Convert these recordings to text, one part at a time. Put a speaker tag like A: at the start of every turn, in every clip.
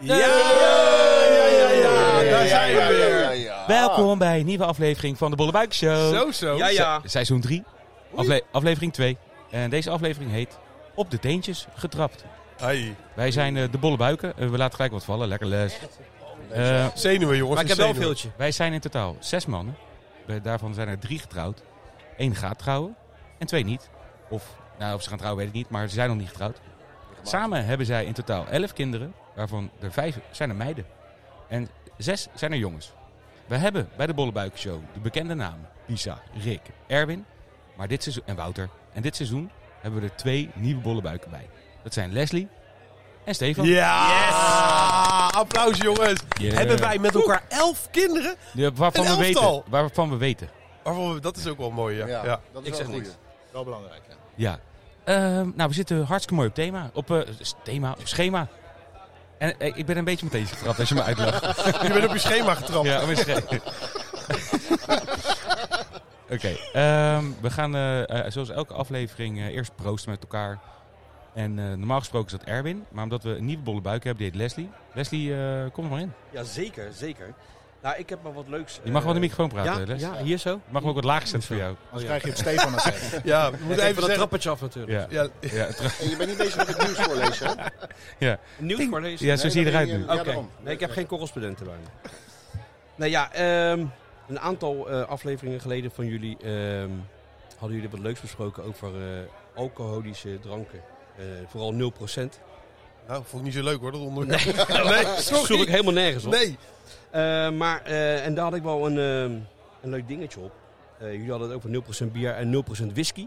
A: Ja, ja, ja, ja, daar zijn we weer.
B: Welkom bij een nieuwe aflevering van de Bollebuik Show.
A: Zo, zo.
C: Ja, ja.
B: Se- Seizoen 3, aflevering 2. En deze aflevering heet Op de Teentjes getrapt.
A: Hey.
B: Wij zijn eh, de Bollebuiken. Eh, we laten gelijk wat vallen, lekker les. Eh,
A: Zenuwen, jongens.
C: Maar ik heb wel een veeltje.
B: wij zijn in totaal zes mannen. Bij- Daarvan zijn er drie getrouwd. Eén gaat trouwen en twee niet. Of, nou, of ze gaan trouwen weet ik niet, maar ze zijn nog niet getrouwd. Samen hebben zij in totaal elf kinderen, waarvan er vijf zijn er meiden. En zes zijn er jongens. We hebben bij de Bollebuiken Show de bekende namen Lisa, Rick, Erwin maar dit seizoen, en Wouter. En dit seizoen hebben we er twee nieuwe Bollebuiken bij. Dat zijn Leslie en Stefan.
A: Ja! Applaus, jongens.
B: Yeah.
A: Hebben wij met elkaar elf kinderen?
B: Ja, waarvan,
A: Een
B: we weten,
A: elftal.
B: waarvan we weten.
A: Waarvan we- dat is ook wel mooi, ja. ja.
D: dat
C: Ik
D: is
C: zeg
D: wel een
C: niks.
D: goeie. Wel belangrijk, ja.
B: Ja. Ehm, nou, we zitten hartstikke mooi op thema. Op eh, s- thema, op schema. En eh, ik ben een beetje meteen getrapt als je me
A: Dus
B: uitlacht.
A: Je bent op je schema getrapt.
B: ja, maar sche- Oké, ehm, we gaan eh, eh, zoals elke aflevering eh, eerst proosten met elkaar. En eh, normaal gesproken is dat Erwin, maar omdat we een nieuwe bolle buik hebben, die heet Leslie. Leslie, eh, kom er maar in.
C: Ja, zeker, zeker. Nou, ik heb maar wat leuks.
B: Je mag wel in de
C: eh,
B: microfoon praten,
C: ja,
B: Les.
C: ja, hier zo.
B: Mag me ook wat laagstens voor jou.
D: Anders Oh krijg je het Stefan het zeggen.
A: Ja, we
C: Moet
A: moeten
C: even
A: even
C: van dat
A: zeggen...
C: trappetje af natuurlijk.
B: Ja,
A: Ja,
B: ja, tra-
D: En je bent niet bezig met het nieuws voorlezen, hè? Nee,
C: Nieuws voorlezen.
B: ja zo
D: dat
B: zie je
D: ben
B: eruit nu.
D: ja,
C: Oké.
D: daarom.
C: Nee, ik heb geen correspondenten bij me. nou ja, ehm, een aantal eh, afleveringen geleden van jullie ehm, hadden jullie wat leuks besproken over eh, alcoholische dranken. Eh, vooral 0%.
A: nou, vond ik niet zo leuk hoor, dat onderwerp. Nee, sorry.
C: Zoek ik helemaal nergens op.
A: Nee.
C: Eh, maar, eh, en daar had ik wel een, ehm, een leuk dingetje op. Eh, jullie hadden het over 0% bier en 0% whisky.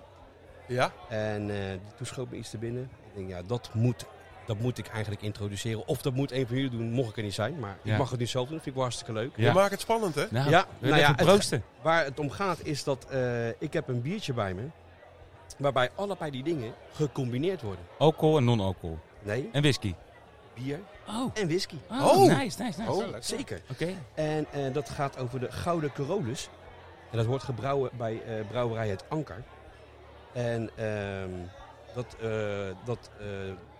A: Ja?
C: En eh, toen schoot me iets te binnen. Ik denk, ja, dat moet, dat moet ik eigenlijk introduceren. Of dat moet een van jullie doen, mocht ik er niet zijn. Maar
B: Ja.
C: ik mag het nu zelf doen, dat vind ik wel hartstikke leuk.
B: Ja.
A: Je maakt het spannend, hè?
B: Nou,
C: Ja,
B: we
C: nou ja,
B: gaan
C: het-
B: proosten.
C: Waar het om gaat is dat eh, ik heb een biertje bij me. Waarbij allebei die dingen gecombineerd worden.
B: Alcohol en non-alcohol.
C: Nee,
B: En whisky.
C: bier
B: Oh,
C: en whisky.
B: oh,
A: Oh.
B: nice, nice, nice.
D: Oh,
C: Zeker.
B: Oké.
C: En eh, dat gaat over de Gouden Carolus. En dat wordt gebrouwen bij eh, brouwerij Het Anker. En ehm, dat, eh, dat, eh,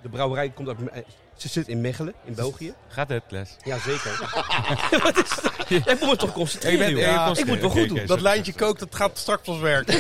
C: de brouwerij komt uit... Me- eh, ze zit in Mechelen, in België.
B: Gaat het, Les?
C: Jazeker. Wat is dat? Jij moet me toch concentreren,
B: Ik ben-
C: joh.
B: ja, ik
C: Ik moet het wel
B: oké,
C: goed
B: oké.
C: doen.
A: Dat lijntje kookt, dat gaat straks pas werken.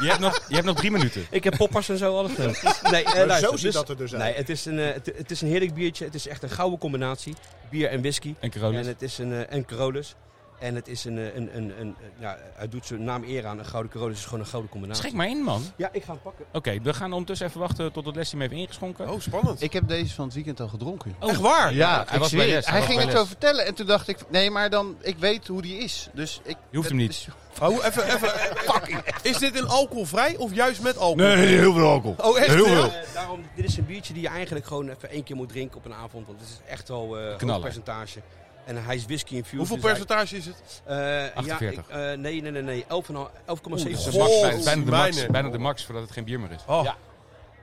B: Je hebt nog, je hebt nog drie minuten.
C: Ik heb poppers en zo, alles. Nee, nee eh,
D: Maar
C: luister,
D: zo ziet
C: dus-
D: dat er dus
C: Nee,
D: uit.
C: het is, een, eh, het, het is een heerlijk biertje. Het is echt een gouden combinatie. Bier en whisky.
B: En Carolus.
C: En het is een, eh, en Carolus. En het is een, eh, een, een, een, eh, ja, hij doet zijn naam eer aan. Een gouden Carolus is gewoon een gouden combinatie.
B: Schrik maar in, man.
C: Ja, ik ga hem pakken.
B: Oké, we gaan ondertussen even wachten tot het lesje hem heeft ingeschonken.
A: Oh, spannend.
E: Ik heb deze van het weekend al gedronken.
B: Oh.
A: Echt waar?
E: Ja,
B: hij
E: ik
B: was
E: zweer
B: bij
E: het.
B: les, hij
E: Hij
B: was
E: ging
B: bij
E: het
B: les.
E: zo vertellen en toen dacht ik, nee, maar dan, ik weet hoe die is. Dus ik...
B: Je hoeft hem niet.
A: Oh, even, even. Fuck. Is dit in alcoholvrij of juist met alcohol?
E: heel veel alcohol.
A: Oh, echt?
E: Heel
A: ja?
E: veel.
C: Eh, daarom, dit is een biertje die je eigenlijk gewoon even één keer moet drinken op een avond. Want het is echt wel eh
B: Knaller.
C: een percentage. En hij is whisky infused.
A: Hoeveel
C: dus hij-
A: percentage is het?
C: Eh,
B: 48.
C: Ja, ik- eh, nee, nee, nee, nee. 11,5 11,7
B: Dat is
A: Goh,
B: max, bijna, bijna de max,
A: mijne.
B: bijna de max voordat het geen bier meer is.
A: Oh.
C: Ja.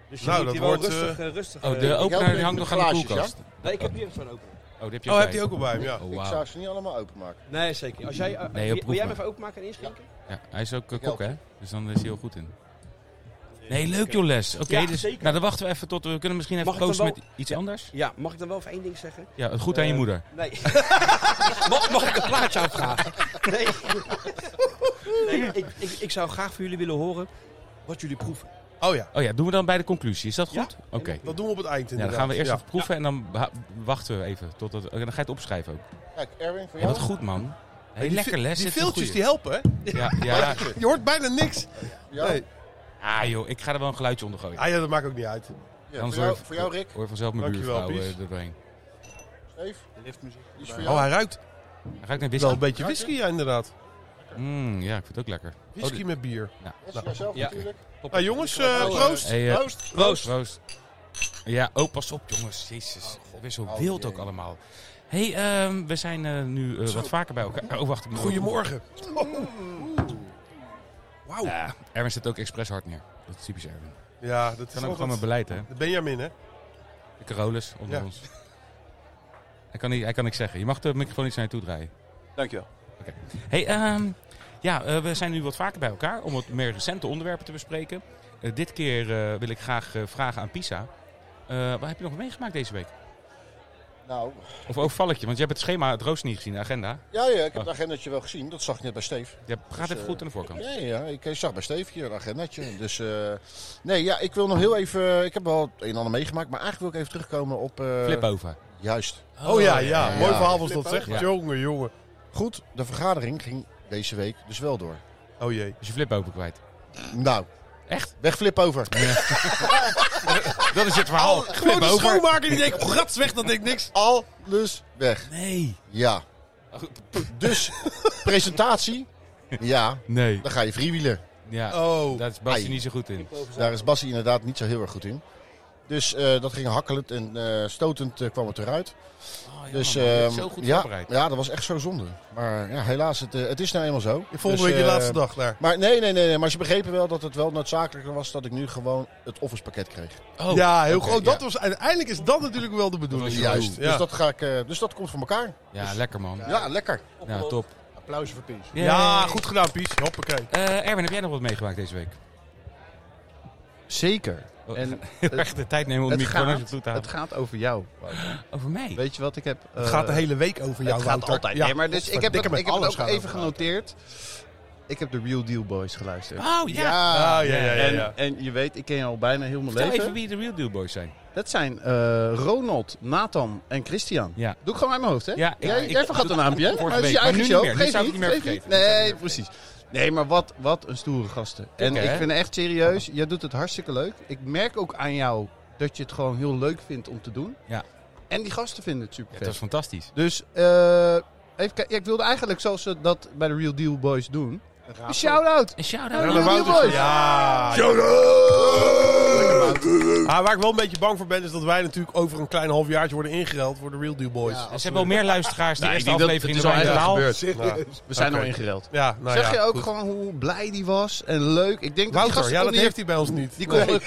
C: Dus je
A: Nou,
C: moet
A: dat
C: hier wel
A: wordt,
C: rustig, eh, rustig.
B: Oh,
C: eh,
B: de
D: help
B: opener
D: je
B: hangt
D: met
B: nog aan de
E: glaasjes,
B: koelkast.
C: nee, ik heb hier van open.
B: Oh, die heb je
A: Oh,
B: ook
A: heb
B: bij.
A: die ook al bij hem, ja.
B: Oh,
D: Ik
B: wauw.
D: zou ze niet allemaal openmaken.
C: Nee, zeker. Als jij, eh,
B: Nee,
C: wil,
B: proef
C: wil jij hem
B: maar.
C: even openmaken en inschenken?
B: Ja, hij is ook eh,
D: help
B: kok, hè? Dus dan is hij heel goed in. Nee, leuk joh, Les. Oké,
C: Ja,
B: dus
C: zeker.
B: nou, dan wachten we even tot we kunnen misschien even
C: Mag ik dan
B: proosten met iets
C: Ja.
B: anders.
C: Ja, mag ik dan wel even één ding zeggen?
B: Ja, het goed aan je
C: Eh,
B: moeder.
C: Nee. mag, mag ik een plaatje aanvragen? Nee. nee ik, ik, ik zou graag van jullie willen horen wat jullie proeven.
A: Oh ja,
B: Oh ja, doen we dan bij de conclusie. Is dat
C: Ja.
B: goed? Oké.
A: dat doen we op het eind
B: Ja, dan
A: inderdaad.
B: gaan we eerst
A: Ja.
B: even proeven en dan beha- wachten we even. Tot het, en dan ga je het opschrijven ook.
D: Kijk, Erwin, voor
B: Ja,
D: jou.
B: wat goed, man. Hey,
A: Die
B: lekker
A: vi-
B: les.
A: Die
B: dit is een
A: filtjes die
B: goeie.
A: helpen, hè?
B: Ja, ja.
A: Je hoort bijna niks.
D: Ja.
A: Nee.
B: Ah joh, ik ga er wel een geluidje onder gooien.
A: Ah ja, dat maakt ook niet uit.
D: Ja,
B: Dan
D: voor, jou,
B: zorg-
D: voor jou, Rick.
B: Hoor vanzelf mijn
A: Dankjewel,
B: buurvrouw
A: Pies.
B: eh, er doorheen.
D: Steve. Die is voor
A: Oh,
D: jou.
A: hij ruikt
B: Hij ruikt naar
A: wel
B: whisky.
A: een beetje whisky, ja, inderdaad.
B: Mm, ja, ik vind het ook lekker.
A: Whisky met bier.
D: Dat is voor jezelf
C: Ja.
D: natuurlijk.
A: Nou jongens, eh,
D: Oh,
A: proost.
B: Hey, eh,
D: Proost.
B: proost. proost. Ja, oh, pas op jongens. Jezus, weer zo
D: Oh,
B: wild
D: jee.
B: ook allemaal. hey, ehm, we zijn eh, nu eh, wat vaker bij elkaar. Oh, wacht. ik moet-
A: Goedemorgen. Wauw.
B: Ja, Erwin zet ook expres hard neer. Dat is typisch Erwin.
A: Ja, dat
B: Dat
A: is
B: kan ook gewoon mijn
A: altijd...
B: beleid, hè.
A: De Benjamin, hè?
B: De Carolus onder
A: Ja.
B: ons. Hij kan, niet, hij kan niks zeggen. Je mag de microfoon niet naar je toe draaien.
F: Dankjewel.
B: Hey, ehm, ja, eh, we zijn nu wat vaker bij elkaar om wat meer recente onderwerpen te bespreken. Eh, dit keer eh, wil ik graag eh, vragen aan Pisa. Eh, wat heb je nog meegemaakt deze week?
D: Nou,
B: Of overval ik je? Want je hebt het schema, het rooster niet gezien, de agenda.
D: ja, ja, ik heb
B: Oh.
D: het agendatje wel gezien. Dat zag ik net bij Steef.
B: Je gaat
D: Dus,
B: even
D: eh,
B: goed aan de voorkant.
D: Ja, ja, ik zag bij Steef hier een agendatje. Dus eh, nee, ja, ik wil nog heel even... eh, Ik heb wel het een en ander meegemaakt, maar eigenlijk wil ik even terugkomen op... eh,
B: Flip over.
D: Juist.
A: Oh ja, ja.
D: ja.
A: Mooi verhaal was dat, zeg.
B: Ja.
A: Jongen, jongen.
D: Goed, de vergadering ging deze week dus wel door.
A: Oh jee.
B: Is je flip over kwijt.
D: Nou,
B: Echt?
D: wegflip over.
B: Dat is het verhaal.
A: Gewoon
B: Flip
A: de
B: over.
A: schoonmaker die denkt, rats weg, dat denkt niks.
D: Alles weg.
B: Nee.
D: Ja. Dus presentatie. Ja,
B: Nee.
D: dan ga je freewielen.
B: Ja,
A: Oh.
B: daar is Basje
D: Ai.
B: niet zo goed in.
D: Daar is Bassie inderdaad niet zo heel erg goed in. Dus eh, dat ging hakkelend en eh, stotend eh, kwam het eruit. dus, ehm,
B: zo goed
D: ja,
B: voorbereid.
D: ja, dat was echt zo zonde. Maar ja, helaas, het, eh, het is nou eenmaal zo.
A: Volgende
D: Dus,
A: week je
D: eh,
A: laatste dag daar.
D: Maar nee, nee, nee, nee, maar ze begrepen wel dat het wel noodzakelijker was dat ik nu gewoon het office pakket kreeg.
B: Oh,
A: ja, heel
B: oké,
A: groot. Dat
B: ja.
A: was, uiteindelijk is dat natuurlijk wel de bedoeling.
B: Dat was
D: Juist.
A: Ja.
D: Dus, dat ga ik, eh, dus dat komt voor elkaar.
B: Ja, lekker man.
D: Ja, lekker.
B: Ja, top.
D: Applaus voor Pies.
A: Ja, goed gedaan, Pies. Hoppakee.
B: Eh, Erwin, heb jij nog wat meegemaakt deze week?
E: Zeker.
B: Oh,
E: En
B: Heel erg de tijd nemen om de
E: het,
B: microfoon
E: gaat,
B: even toe te
E: het
B: houden.
E: gaat over jou. Wouter.
B: Over mij?
E: Weet je wat ik heb?
A: Het gaat de
E: eh,
A: hele week over jou,
E: het gaat
A: Wouter.
E: altijd.
A: Ja,
E: nee, maar dus ik heb,
A: potverdikke
E: het,
A: met
E: ik heb het
A: alles
E: ook
A: gaat
E: even
A: over Wouter.
E: genoteerd. Ik heb de Real Deal Boys geluisterd.
B: Oh ja.
A: Ah, ja, ja, ja.
E: en,
A: ja.
E: en je weet, ik ken je al bijna heel mijn
B: Vertel
E: leven.
B: even wie de Real Deal Boys zijn.
E: Dat zijn eh, Ronald, Nathan en Christian.
B: Ja.
E: Doe ik gewoon uit mijn hoofd, hè?
B: Ja, ik-
E: jij,
B: ik-
E: jij vergat een naampje, hè?
B: Vorige
E: het is je
B: week, maar
E: eigen
B: nu
E: show.
B: niet meer. Nu
E: Geef
B: zou ik het niet meer
E: geef
B: vergeten.
E: Nee, precies. Nee, maar wat, wat een stoere gasten. En
B: Oké,
E: ik
B: hè?
E: vind het echt serieus, jij doet het hartstikke leuk. Ik merk ook aan jou dat je het gewoon heel leuk vindt om te doen.
B: Ja.
E: En die gasten vinden het super
B: Ja, dat is fantastisch.
E: Dus eh, even kijken. Ja, ik wilde eigenlijk zoals ze dat bij de Real Deal Boys doen. Een shout-out!
B: Een shout-out.
E: Ja,
A: Ja,
E: de
A: de
E: Wouter-
A: Wouter- Ja. Ah, waar ik wel een beetje bang voor ben, is dat wij natuurlijk over een klein halfjaartje worden ingereld voor de Real Deal Boys. Dus,
E: Ja.
B: Ze hebben al meer luisteraars die
E: Nee,
B: eerste
E: ik denk dat-
B: aflevering
E: het is al
B: erbij
E: eigenlijk
B: gehaald.
E: We zijn
A: Oké.
E: al ingereld.
A: Ja, nou
E: zeg
A: ja,
E: je ook
A: goed.
E: gewoon hoe blij die was en leuk. Ik denk dat die
A: Wouter,
E: gasten
A: ja,
E: kon
A: dat
E: niet-
A: heeft hij bij ons niet.
E: Die konden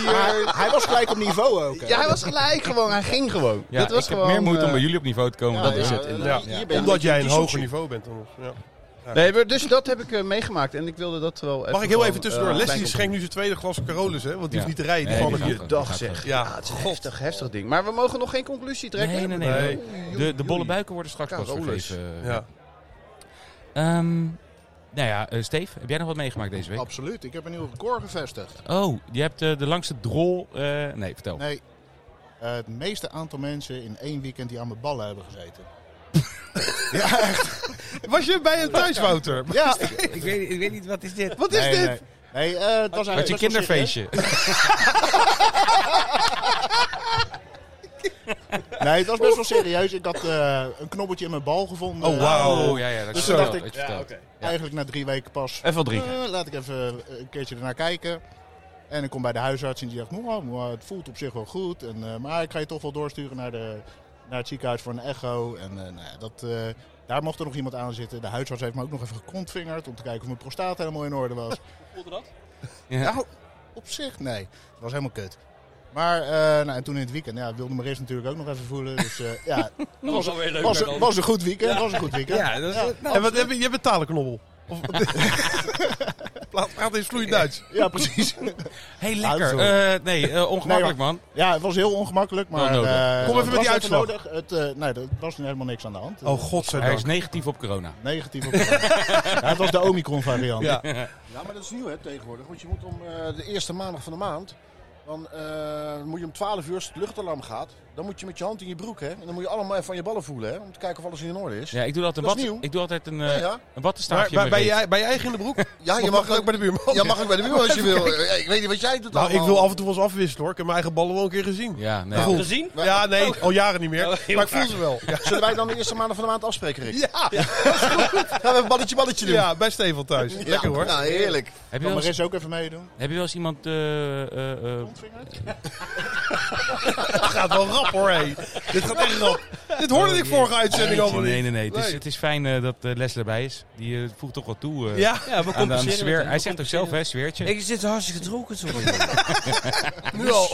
E: hier.
F: Hij was gelijk op niveau ook. hè.
E: Ja, hij was gelijk gewoon. Hij ging gewoon.
B: Ja,
E: Dit was
B: ik
E: gewoon,
B: heb meer moeite om
E: eh,
B: bij jullie op niveau te komen.
D: Ja,
B: dan
D: ja,
B: ik.
D: ja,
A: inderdaad.
D: hier- hier ben je
A: Omdat
D: een
A: jij een
D: beetje
A: hoger
D: zoetje.
A: niveau bent dan ons. Ja.
E: Nee, maar dus dat heb ik eh, meegemaakt. En ik wilde dat wel even
A: Mag ik heel
E: gewoon,
A: even tussendoor?
E: eh,
A: Leslie
E: klein
A: schenkt nu zijn tweede glas Carolus, hè? Want die
B: Ja.
A: hoeft niet te rijden. Die
B: Nee,
A: gewoon
B: die
A: een
B: gaat
A: keer.
E: compliment.
B: gewoon.
E: Dag zeg.
A: Ja.
E: Ja, het is een heftig, heftig ding. Maar we mogen nog geen conclusie trekken.
B: Nee, nee,
A: Nee.
B: nee. De, de bolle buiken worden straks pas
E: Carolus.
B: vergeven.
A: Ja.
B: Ehm, nou ja, eh, Steve, heb jij nog wat meegemaakt deze week?
F: Absoluut, ik heb een nieuw record gevestigd.
B: Oh, je hebt eh, de langste drol. eh, nee, vertel.
F: Nee, eh, het meeste aantal mensen in één weekend die aan mijn ballen hebben gezeten.
A: Was je bij hem thuis, Wouter?
F: Ja,
B: Ik, weet, ik weet niet, wat is dit?
A: Wat is
F: nee,
A: dit?
F: Nee, nee eh, het was
B: Met je
F: eigenlijk...
B: kinderfeestje.
F: Nee, het was best wel serieus. Ik had eh, een knobbeltje in mijn bal gevonden.
A: Oh, wauw.
B: Oh, ja, ja. Dat
F: Dus
B: is wel
F: dacht ik-
B: dat je vertelt.
F: Eigenlijk na drie weken pas.
E: Even drie.
F: Eh, laat ik even eh, een keertje ernaar kijken. En ik kom bij de huisarts en die zegt, "Moa, moa, het voelt op zich wel goed. En, eh, maar ik ga je toch wel doorsturen naar, de, naar het ziekenhuis voor een echo. En eh, nou ja, dat, eh, daar mocht er nog iemand aan zitten. De huisarts heeft me ook nog even gekontvingerd om te kijken of mijn prostaat helemaal in orde was.
B: Ja.
F: Nou, op zich nee. Het was helemaal kut. Maar eh, nou, en toen in het weekend, ja, wilde mijn rest natuurlijk ook nog even voelen. Dus eh, ja, het was, was, een- was een goed weekend. Was een goed weekend.
B: Ja, dat is- nou,
A: En wat heb je? Je hebt een talenknobbel. Of, Praat- praat eens vloeiend Duits.
F: ja precies.
B: Hey, lekker.
F: Auto.
B: Eh, nee, eh, ongemakkelijk, man.
F: Ja, het was heel ongemakkelijk,
B: Wel
F: maar...
B: nodig.
F: eh,
A: Kom even
F: het
A: met
F: was
A: die uitslag.
F: nodig. Het, eh, nee, er was nu helemaal niks aan de hand.
A: Oh,
B: Hij
A: godzijdank.
B: is negatief op corona.
F: Negatief op ja, Het was de Omicron-variant.
A: Ja.
D: Ja, maar dat is nieuw hè, tegenwoordig. Want je moet om eh, de eerste maandag van de maand. Dan eh, moet je om 12 uur als het luchtalarm gaat. Dan moet je met je hand in je broek hè. En dan moet je allemaal even van je ballen voelen hè. Om te kijken of alles in orde is. Ja,
B: Ja, ik doe altijd
D: Dat
B: een,
D: is
B: wat,
D: nieuw.
B: ik doe altijd een, eh,
D: ja. ja.
B: een
A: Maar,
B: wattenstaafje
A: maar
B: in
A: ben,
B: mijn reet.
A: jij, ben je eigen in de broek?
D: je mag ook.
A: bij de buurman.
D: Ja, mag ook bij de buurman als je wil. Eh, Ik weet niet wat jij doet
A: Nou, ik
D: allemaal.
A: wil af en toe wel eens afwisselen hoor. Ik heb mijn eigen ballen wel een keer gezien.
B: Ja, nee.
A: Goed.
G: gezien?
A: Ja, nee, al jaren niet meer.
G: Oh,
A: Maar
G: heel
A: ik voel ze wel. Ja,
D: Zullen wij dan de eerste maandag van de maand afspreken, Rick?
A: ja.
D: Gaan we even balletje balletje doen?
A: ja bij Steven thuis. Lekker hoor.
D: Nou, heerlijk.
B: Heb, je wel
F: Kan mijn
B: eens,
F: rest ook even meedoen?
B: heb je wel eens iemand... eh, eh, eh,
A: Het gaat wel rap hoor, hé. Dit gaat echt rap. Oh, Dit hoorde ik vorige uitzending
B: Jeetje,
A: allemaal niet.
B: Nee, nee, nee. Het is,
A: Nee.
B: het is fijn eh, dat eh, Les erbij is. Die eh, voegt toch wat toe eh,
A: Ja,
G: Ja, we
B: aan, de- aan de
G: compenseren met
B: sfeer.
G: hem.
B: Hij zegt ook zelf, hè, sfeertje.
G: Ik zit hartstikke dronken zo.
A: nu al.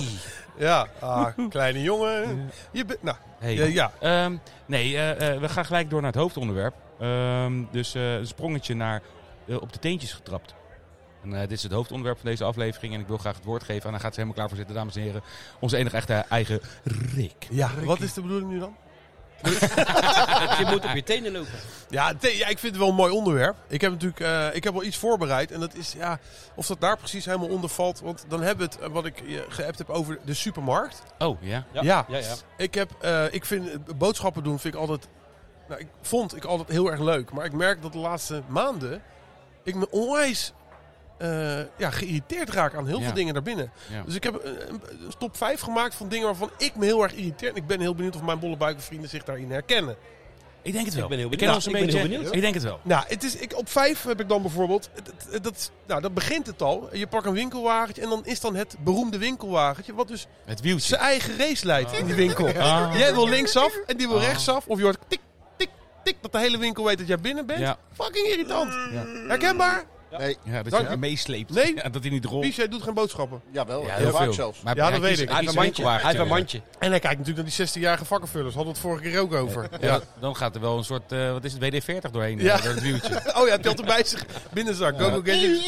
A: Ja, ah, kleine jongen. Je bent, nou,
B: Hey.
A: ja, ja.
B: Ehm, nee, eh, eh, we gaan gelijk door naar het hoofdonderwerp. Ehm, dus eh, een sprongetje naar eh, op de teentjes getrapt. En eh, dit is het hoofdonderwerp van deze aflevering. En ik wil graag het woord geven. En daar gaat ze helemaal klaar voor zitten, dames en heren. Onze enige echte eigen Rick.
A: Ja, wat is de bedoeling nu dan?
C: Je moet op je tenen lopen.
A: Ja, te- ja, ik vind het wel een mooi onderwerp. Ik heb natuurlijk eh, ik heb wel iets voorbereid. En dat is, ja, of dat daar precies helemaal onder valt. Want dan hebben we het, eh, wat ik je geappt heb over de supermarkt.
B: Oh, ja.
A: Ja.
C: ja, ja.
A: Ik, heb, eh, ik vind eh, boodschappen doen vind ik altijd. Nou, ik vond ik altijd heel erg leuk. Maar ik merk dat de laatste maanden ik me onwijs eh, ja, geïrriteerd raak aan heel
B: Ja.
A: veel dingen daarbinnen.
B: Ja.
A: Dus ik heb een, een- een top 5 gemaakt van dingen waarvan ik me heel erg irriteer. En ik ben heel benieuwd of mijn bollebuikenvrienden zich daarin herkennen.
B: Ik denk het wel.
C: Ik ben heel
B: ken
C: benieuwd.
B: ons een
C: Ik ben
B: beetje.
C: heel benieuwd.
B: Ik denk het wel.
A: Nou, het is, ik, op vijf heb ik dan bijvoorbeeld. het- het- dat, is- nou, dat begint het al. Je pakt een winkelwagentje en dan is dan het beroemde winkelwagentje. Wat dus
B: Het wieltje.
A: zijn eigen race leidt in die winkel. Jij wil linksaf en die wil
B: Ah.
A: rechtsaf. Of je hoort tik, tik, tik. Dat de hele winkel weet dat jij binnen bent.
B: Ja.
A: Fucking irritant.
B: Ja.
A: Herkenbaar?
D: Nee,
B: Ja, dat
A: Dank
B: je
A: je.
B: hem meesleept.
A: Nee.
B: Ja, dat hij niet rolt.
A: Pies, jij doet geen boodschappen.
D: jawel.
B: Ja,
D: heel vaak zelfs.
B: Maar
A: Ja, dat
B: hij
A: weet
B: kiest-
A: ik.
B: hij
C: Hij heeft
B: kiest
C: een mandje. Hij
B: winkelwagentje.
C: heeft een mandje.
A: En hij kijkt natuurlijk naar die 16-jarige vakkenvullers. Hadden we het vorige keer ook over. Ja.
B: Ja, Dan gaat er wel een soort, eh, wat is het, WD-40 doorheen.
A: Ja.
B: eh, door het wieltje.
A: Oh ja, telt er bij zich. Binnenzak. Go, go, gadgets.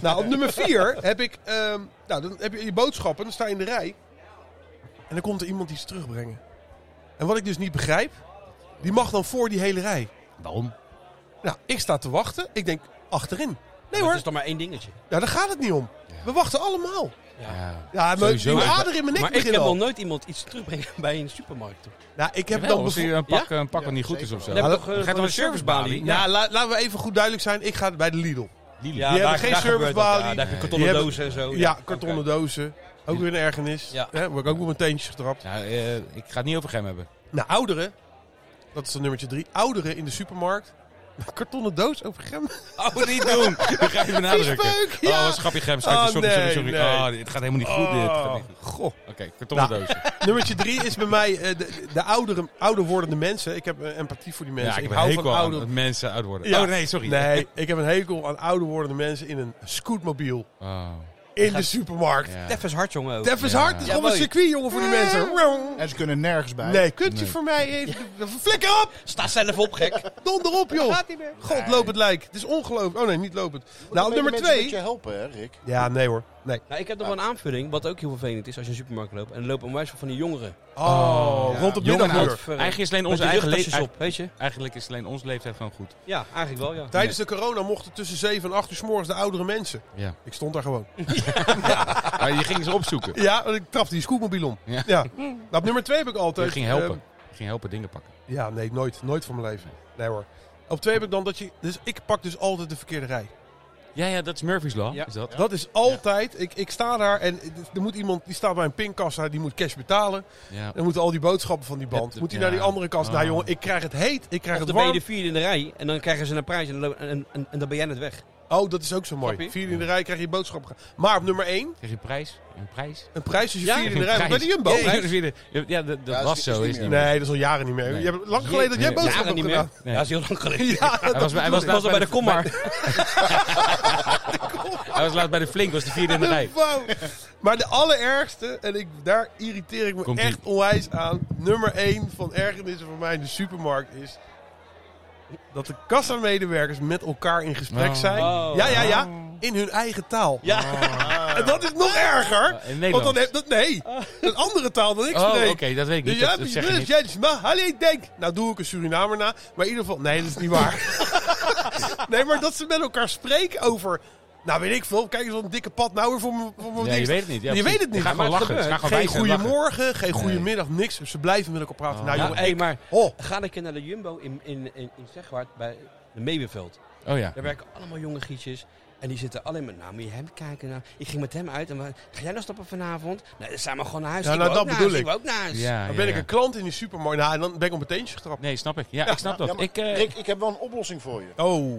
A: Nou, op nummer 4 heb ik. ehm, nou, dan heb je je boodschappen. Dan sta je in de rij. En dan komt er iemand die ze terugbrengen. En wat ik dus niet begrijp. Die mag dan voor die hele rij.
B: Waarom?
A: Nou, ik sta te wachten. Ik denk achterin. Nee
C: Dat
A: hoor,
C: is dan maar één dingetje.
A: nou, daar gaat het niet om. We wachten allemaal.
B: Ja.
A: Ja, mijn,
B: Sowieso.
A: mijn ader in mijn nek
C: maar ik
A: begint
C: heb nog
A: al.
C: nooit iemand iets terugbrengen bij een supermarkt. Toch?
A: Nou, ik heb
B: Jawel,
A: dan
B: als
A: bevo-
B: hij een pak, een pak wat niet goed is of zo.
C: Dan heb je toch, eh,
B: gaat
C: gewoon
B: toch
C: een servicebalie?
A: Nou,
B: servicebalie?
A: la- laten we even goed duidelijk zijn. Ik ga bij de Lidl.
B: Lili.
A: hebben geen servicebalie.
C: Ja, daar heb je
A: Die
C: kartonnen
A: hebben-
C: dozen en zo.
B: Oh,
A: Ja, kartonnen
C: oké.
A: dozen. Ook weer een ergernis.
C: Ja.
A: Hè, word ik ook op mijn teentjes getrapt.
B: Nou, eh, ik ga het niet over hem hebben.
A: Nou, ouderen. Dat is dan nummertje drie. Ouderen in de supermarkt. Een kartonnen doos over gem.
B: Oh, niet doen. Dan ga je benadrukken.
A: Viespeuk,
B: Oh,
A: ja.
B: wat schapje grem. Sorry,
A: Oh,
B: sorry,
A: nee,
B: sorry. sorry.
A: nee.
B: Oh, dit gaat helemaal niet goed. Dit gaat niet goed.
A: goh.
B: Oké, kartonnen
A: Nou.
B: dozen.
A: Nummertje drie is bij mij eh, de, de oudere, ouder wordende mensen. Ik heb eh, empathie voor die mensen.
B: Ja, ik heb
A: ik hou
B: hekel
A: van
B: aan
A: ouder.
B: dat mensen oud worden.
A: Ja.
B: Oh, nee, sorry.
A: Nee, ik heb een hekel aan ouder wordende mensen in een scootmobiel.
B: Oh,
A: In de supermarkt.
B: ja.
C: Def is hard, jongen. ook.
A: Def is
B: Ja.
A: hard. Het is
C: Ja,
A: gewoon een
C: mooi.
A: circuit, jongen, voor die mensen.
F: En ze kunnen nergens bij.
A: Nee, kunt u
B: Nee.
A: voor mij even... Flikker op!
C: Sta zelf op, gek.
A: Donder op, joh! God, loop het lijk. Het is ongelooflijk. Oh nee, niet lopend. Nou, op nummer
D: Moet je
A: twee...
D: helpen, hè, Rick?
A: Ja, nee hoor. Nee.
C: Nou, ik heb nog wel een aanvulling, wat ook heel vervelend is als je in de supermarkt loopt. En er lopen onwijs veel van die jongeren.
A: Oh, rond op
B: Jong en
A: middaguur.
B: oud. Eigenlijk is alleen
C: Met
B: onze
C: die
B: eigen
C: luchttasjes
B: leeftijd.
C: op, weet je?
B: Eigenlijk is alleen onze leeftijd gewoon goed.
C: Ja, eigenlijk wel, ja.
A: Tijdens de corona mochten tussen 7 en 8 uur s morgens de oudere mensen.
B: Ja.
A: Ik stond daar gewoon.
B: Maar je ging ze opzoeken.
A: Ja, want ik trapte die scootmobiel om.
B: Ja.
A: Ja. Nou, op nummer 2 heb ik altijd...
B: Je ging helpen.
A: eh,
B: Je ging helpen dingen pakken.
A: ja, nee, nooit. Nooit van mijn leven. Nee hoor. Op 2 heb ik dan dat je... Dus ik pak dus altijd de verkeerde rij.
B: Ja, ja, dat is Murphy's Law.
C: Ja.
B: Is dat?
A: Dat is altijd... Ik, ik sta daar en dus, er moet iemand... Die staat bij een pinkassa, die moet cash betalen.
B: Ja.
A: Dan moeten al die boodschappen van die band.
B: Het-
A: Moet hij
B: ja.
A: naar die andere kast?
B: Oh.
A: Nou jongen, ik krijg het heet. Ik krijg
C: Of
A: het
C: dan ben je
A: warm.
C: de vierde in de rij en dan krijgen ze een prijs en, dan lopen- en, en, en dan ben jij net weg.
A: Oh, dat is ook zo mooi.
C: Snap je?
A: Vier in de rij krijg je boodschappen. Maar op nummer 1,
B: Kreeg je een prijs? Een prijs?
A: een prijs als je
C: Ja,
A: vier in de
B: Een
A: rij. Want Bij de Jumbo.
B: Ja, dat is weer de- ja, dat, dat
D: Ja,
B: was
D: is-
B: zo.
D: is niet
B: Is niet
D: meer.
B: meer.
A: Nee, dat is al jaren niet meer.
B: Nee.
A: Je hebt lang geleden dat jij
B: Nee,
A: boodschappen
C: Jaren
A: hebt gedaan.
C: niet meer.
B: Nee.
C: Ja, dat is heel lang geleden.
A: Ja,
B: Hij was, bij- hij was,
C: was al bij de
B: kom
C: komma.
B: Hij was laatst bij de Flink, was de vierde in de rij.
A: Wow. Maar de allerergste, en ik, daar irriteer ik me
B: Komt-ie.
A: echt onwijs aan. Nummer 1 van ergernissen voor mij in de supermarkt is. dat de kassamedewerkers met elkaar in gesprek
B: Oh.
A: zijn.
C: Oh.
A: Ja, ja, ja. In hun eigen taal. Ah.
C: Ja.
A: En dat is nog erger.
B: In
A: want dan
B: Nederland.
A: heb dat. Nee, een andere taal dan ik
B: Ah. Oh,
A: spreek.
B: oké, dat weet ik niet.
A: Dus ja,
B: dat, dat zeg je
A: dus
B: niet.
A: jij dus maar alleen denk. Nou, doe ik een Surinamer na. Maar in ieder geval, nee, dat is niet waar. nee, maar dat ze met elkaar spreken over. Nou, weet ik veel. Kijk eens wat een dikke pad nou weer voor mijn voor mijn
B: Ja, je
A: ding.
B: weet het niet. Ja,
A: je
B: precies.
A: weet het niet.
B: Ga gewoon
A: Maar
B: lachen. Ga gewoon
A: Geen
B: wijzen en lachen.
A: goeiemorgen, geen goeiemiddag, niks. Ze blijven met elkaar praten. Nou,
B: Ja,
A: jongen.
C: hey, maar
A: Oh,
C: ga een keer naar de Jumbo in, in, in, in Zegwaard bij de Meeuwenveld.
B: Oh ja.
C: Daar werken allemaal jonge gietjes. En die zitten alleen maar, nou moet je hem kijken. Nou. Ik ging met hem uit. En we- ga jij nog stappen vanavond? Nee, dan zijn we gewoon naar huis.
A: Ja,
C: Ik
A: nou,
C: wil ook
A: dat
C: naar
A: bedoel
C: huis, wil ook naar huis.
B: ja,
A: dan
B: ja,
A: ben ik
B: ja.
A: een klant in die supermarkt. Nou, en dan ben ik op mijn teentje getrapt.
B: Nee, snap ik. Ja,
A: Ja,
B: ik snap dat.
D: Ja, maar
B: ik, eh,
D: Rick, ik heb wel een oplossing voor je.
A: Oh.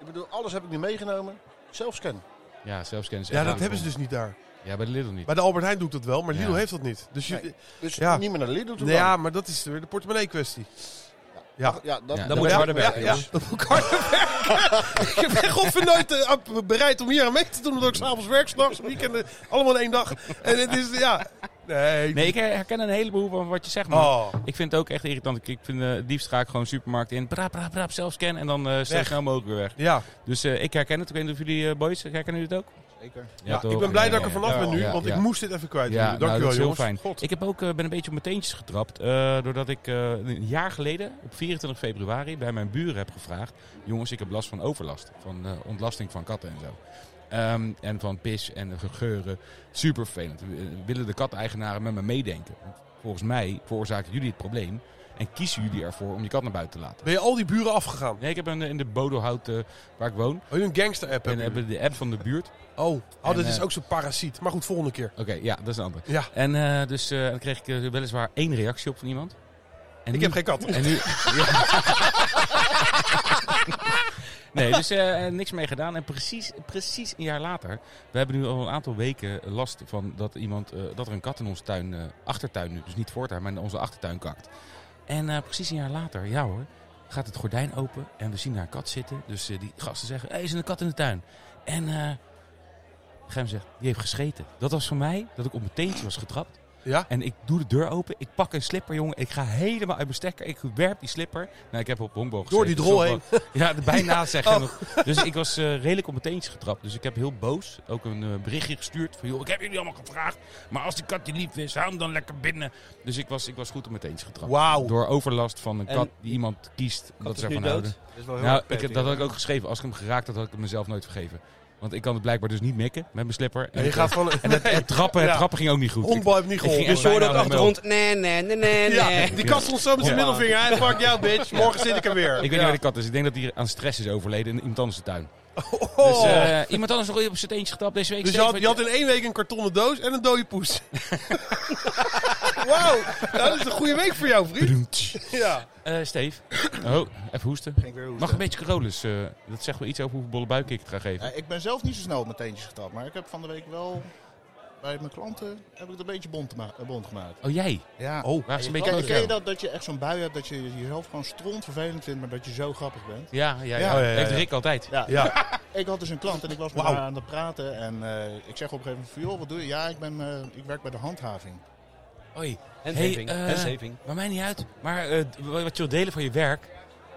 D: Ik bedoel, alles heb ik nu meegenomen. Zelfscan.
B: ja, zelfscanners.
A: Ja, dat hebben ze dus niet daar.
B: Ja, bij de Lidl niet.
A: Bij de Albert Heijn doet dat wel, maar Lidl
B: Ja.
A: heeft dat niet. Dus je,
D: Nee. Dus
A: Ja.
D: niet meer naar de Lidl toe
A: Nee, ja, maar dat is weer de portemonnee kwestie. Ja.
D: ja, dat,
B: Ja.
D: ja.
C: Dan moet je
A: Ja,
C: harder
A: ja,
C: werken,
A: ja,
C: jongens.
A: dat moet ik harder werken. ik ben godver nooit eh, ab- bereid om hier aan mee te doen. Omdat ik s'avonds werk, s'nachts, weekenden, allemaal in één dag. En het is, ja... Nee.
B: Nee, ik herken een heleboel van wat je zegt, man.
A: Oh,
B: Ik vind het ook echt irritant. Ik- Ik vind eh, het liefst ga ik gewoon supermarkt in. Braap, braap, braap, zelf scannen. En dan eh zo
A: Weg.
B: snel mogelijk weer weg.
A: ja.
B: Dus eh, ik herken het. Ik weet niet of jullie eh, boys, herkennen jullie het ook?
F: Zeker.
A: Ja, ik ben blij dat ik er vanaf
B: ja,
A: ben nu,
B: ja,
A: want
B: ja.
A: ik moest dit even kwijt.
B: Ja,
A: Dank
B: nou,
A: je
B: dat
A: wel,
B: is heel
A: jongens.
B: fijn.
A: God.
B: Ik heb ook, eh, ben een beetje op mijn teentjes getrapt. eh, doordat ik eh, een jaar geleden, op 24 februari, bij mijn buren heb gevraagd. Jongens, ik heb last van overlast. Van eh, ontlasting van katten en zo. Ehm, en van pis en ge- geuren. Super vervelend. Eh, Willen de kateigenaren met me meedenken? Want volgens mij veroorzaken jullie het probleem. En kiezen jullie ervoor om je kat naar buiten te laten.
A: Ben je al die buren afgegaan?
B: Nee, ik heb een, in de Bodelhout, eh, waar ik woon.
A: Oh, jullie een gangster-app
B: En
A: hebben jullie?
B: hebben de app van de buurt.
A: Oh, oh
B: En,
A: dat is
B: eh,
A: ook zo'n parasiet. Maar goed, volgende keer.
B: Oké, ja, dat is een ander.
A: Ja,
B: En eh, dus eh, dan kreeg ik eh, weliswaar één reactie op van iemand. En
A: ik
B: nu-
A: heb geen kat.
B: En nu... Ja. Nee, dus eh, eh, niks mee gedaan. En precies, precies een jaar later, we hebben nu al een aantal weken last van dat, iemand, eh, dat er een kat in onze tuin, eh, achtertuin nu, dus niet voortuin, maar in onze achtertuin kakt. En eh, precies een jaar later, ja hoor, gaat het gordijn open en we zien daar een kat zitten. Dus eh, die gasten zeggen, hey, is er een kat in de tuin? En eh Gem zegt, die heeft gescheten. Dat was voor mij dat ik op mijn teentje was getrapt.
A: Ja?
B: En ik doe de deur open. Ik pak een slipper, jongen. Ik ga helemaal uit mijn stekker. Ik werp die slipper. Nou, ik heb op honkbal
A: Door
B: gezeten,
A: die drol Oh.
B: dus op- Ja, de bijna zeg je nog. Dus ik was eh, redelijk op mijn teentjes getrapt. Dus ik heb heel boos ook een eh, berichtje gestuurd. Van, joh, ik heb jullie allemaal gevraagd. Maar als die kat je lief is, hou hem dan lekker binnen. Dus ik was, ik was goed op mijn teentjes getrapt.
A: Wauw.
B: Door overlast van een
C: En-
B: kat die iemand kiest. dat
C: is
B: ze ervan
C: nu dood.
B: houden.
C: Dat is wel heel
B: Nou,
C: erg
B: ik,
C: prettig.
B: dat had ik ook geschreven. Als ik hem geraakt had, had ik het mezelf nooit vergeven. Want ik kan het blijkbaar dus niet mikken met mijn slipper.
A: En je gaat gewoon...
B: En het, het trappen, het
A: Ja.
B: trappen ging ook niet goed. Ik-
A: Honkbal heeft niet
B: ik ging
A: geholpen.
B: echt
C: Dus je hoorde
B: bijna
C: ook
B: aan de
C: achtergrond, nee, nee, nee, nee,
A: Ja,
C: nee.
A: die kat stond zo met zijn
C: Ja.
A: middelvinger. Hij fuck jou, bitch. Morgen zit ik er weer.
B: Ik weet niet
A: Ja.
B: waar de kat is. Ik denk dat hij aan stress is overleden in iemand anders de tuin.
A: Oh.
B: Dus eh, iemand anders nog op zijn eentje getapt deze week.
A: Dus je
B: Steven,
A: had, je had in één week een kartonnen doos en een dode poes. Wauw, nou, dat is een goede week voor jou, vriend. Ja.
B: Eh, Steef. Oh, even hoesten.
F: Ging weer hoesten.
B: Mag een beetje Carolus. eh, dat zegt wel iets over hoeveel bolle buik ik het ga geven.
F: Ja, ik ben zelf niet zo snel op mijn teentjes getapt, maar ik heb van de week wel bij mijn klanten heb ik het een beetje bond, ma- eh, bond gemaakt.
B: Oh, jij?
F: Ja.
B: Oh, waar is een beetje
F: Ken,
B: nodig
F: ken je
B: aan?
F: dat, dat je echt zo'n bui hebt dat je jezelf gewoon stront vervelend vindt, maar dat je zo grappig bent?
B: Ja, ja, ja.
F: Ja,
A: Oh, ja, ja,
B: Heeft
A: ja.
B: Rick altijd.
F: Ja.
A: Ja.
F: Ik had dus een klant en ik was met
A: Wauw.
F: haar aan het praten en eh, ik zeg op een gegeven moment van, joh, wat doe je? Ja, ik, ben, eh, ik werk bij de handhaving.
B: Hoi.
C: Handhaving.
B: Hey, eh,
C: Handhaving.
B: Maar mij niet uit. Maar eh, d- wat je wil delen van je werk.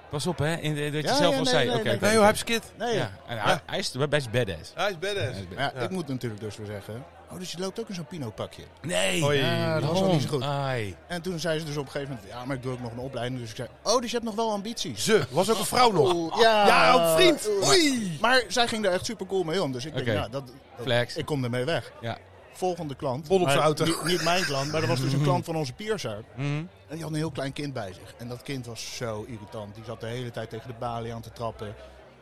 B: Pas op, hè. In, dat je
F: Ja,
B: zelf
F: ja,
B: al
F: nee,
B: zei.
F: nee,
B: Oké.
F: nee.
B: oké,
A: Nee,
B: oké.
A: joh, heb skit.
F: Nee.
B: Ja, en hij- Hij is best badass.
A: Hij is badass.
B: Hij is badass.
F: Maar ja,
A: Ja.
F: ik moet natuurlijk dus weer zeggen, oh, dus je loopt ook in zo'n Pinot-pakje.
B: Nee.
A: Hoi.
B: Ah,
F: Dat was wel
B: daarom.
F: niet zo goed.
B: Ai.
F: En toen zei ze dus op een gegeven moment, ja, maar ik doe ook nog een opleiding. Dus ik zei, oh, dus je hebt nog wel ambities.
A: Ze, was ook een vrouw nog.
F: Oeh, Ja,
A: Ja, ook vriend.
F: Oeh.
A: Oei.
F: Maar zij ging daar echt super cool mee om. Dus ik
B: Oké.
F: denk, nou, dat, dat-
B: Flex.
F: ik kom ermee weg.
B: Ja.
F: Volgende klant.
A: Bol op
F: maar
A: zijn auto.
F: Niet, niet mijn klant, maar er was dus een klant van onze piercer.
B: Mhm.
F: En die had een heel klein kind bij zich. En dat kind was zo irritant. Die zat de hele tijd tegen de balie aan te trappen.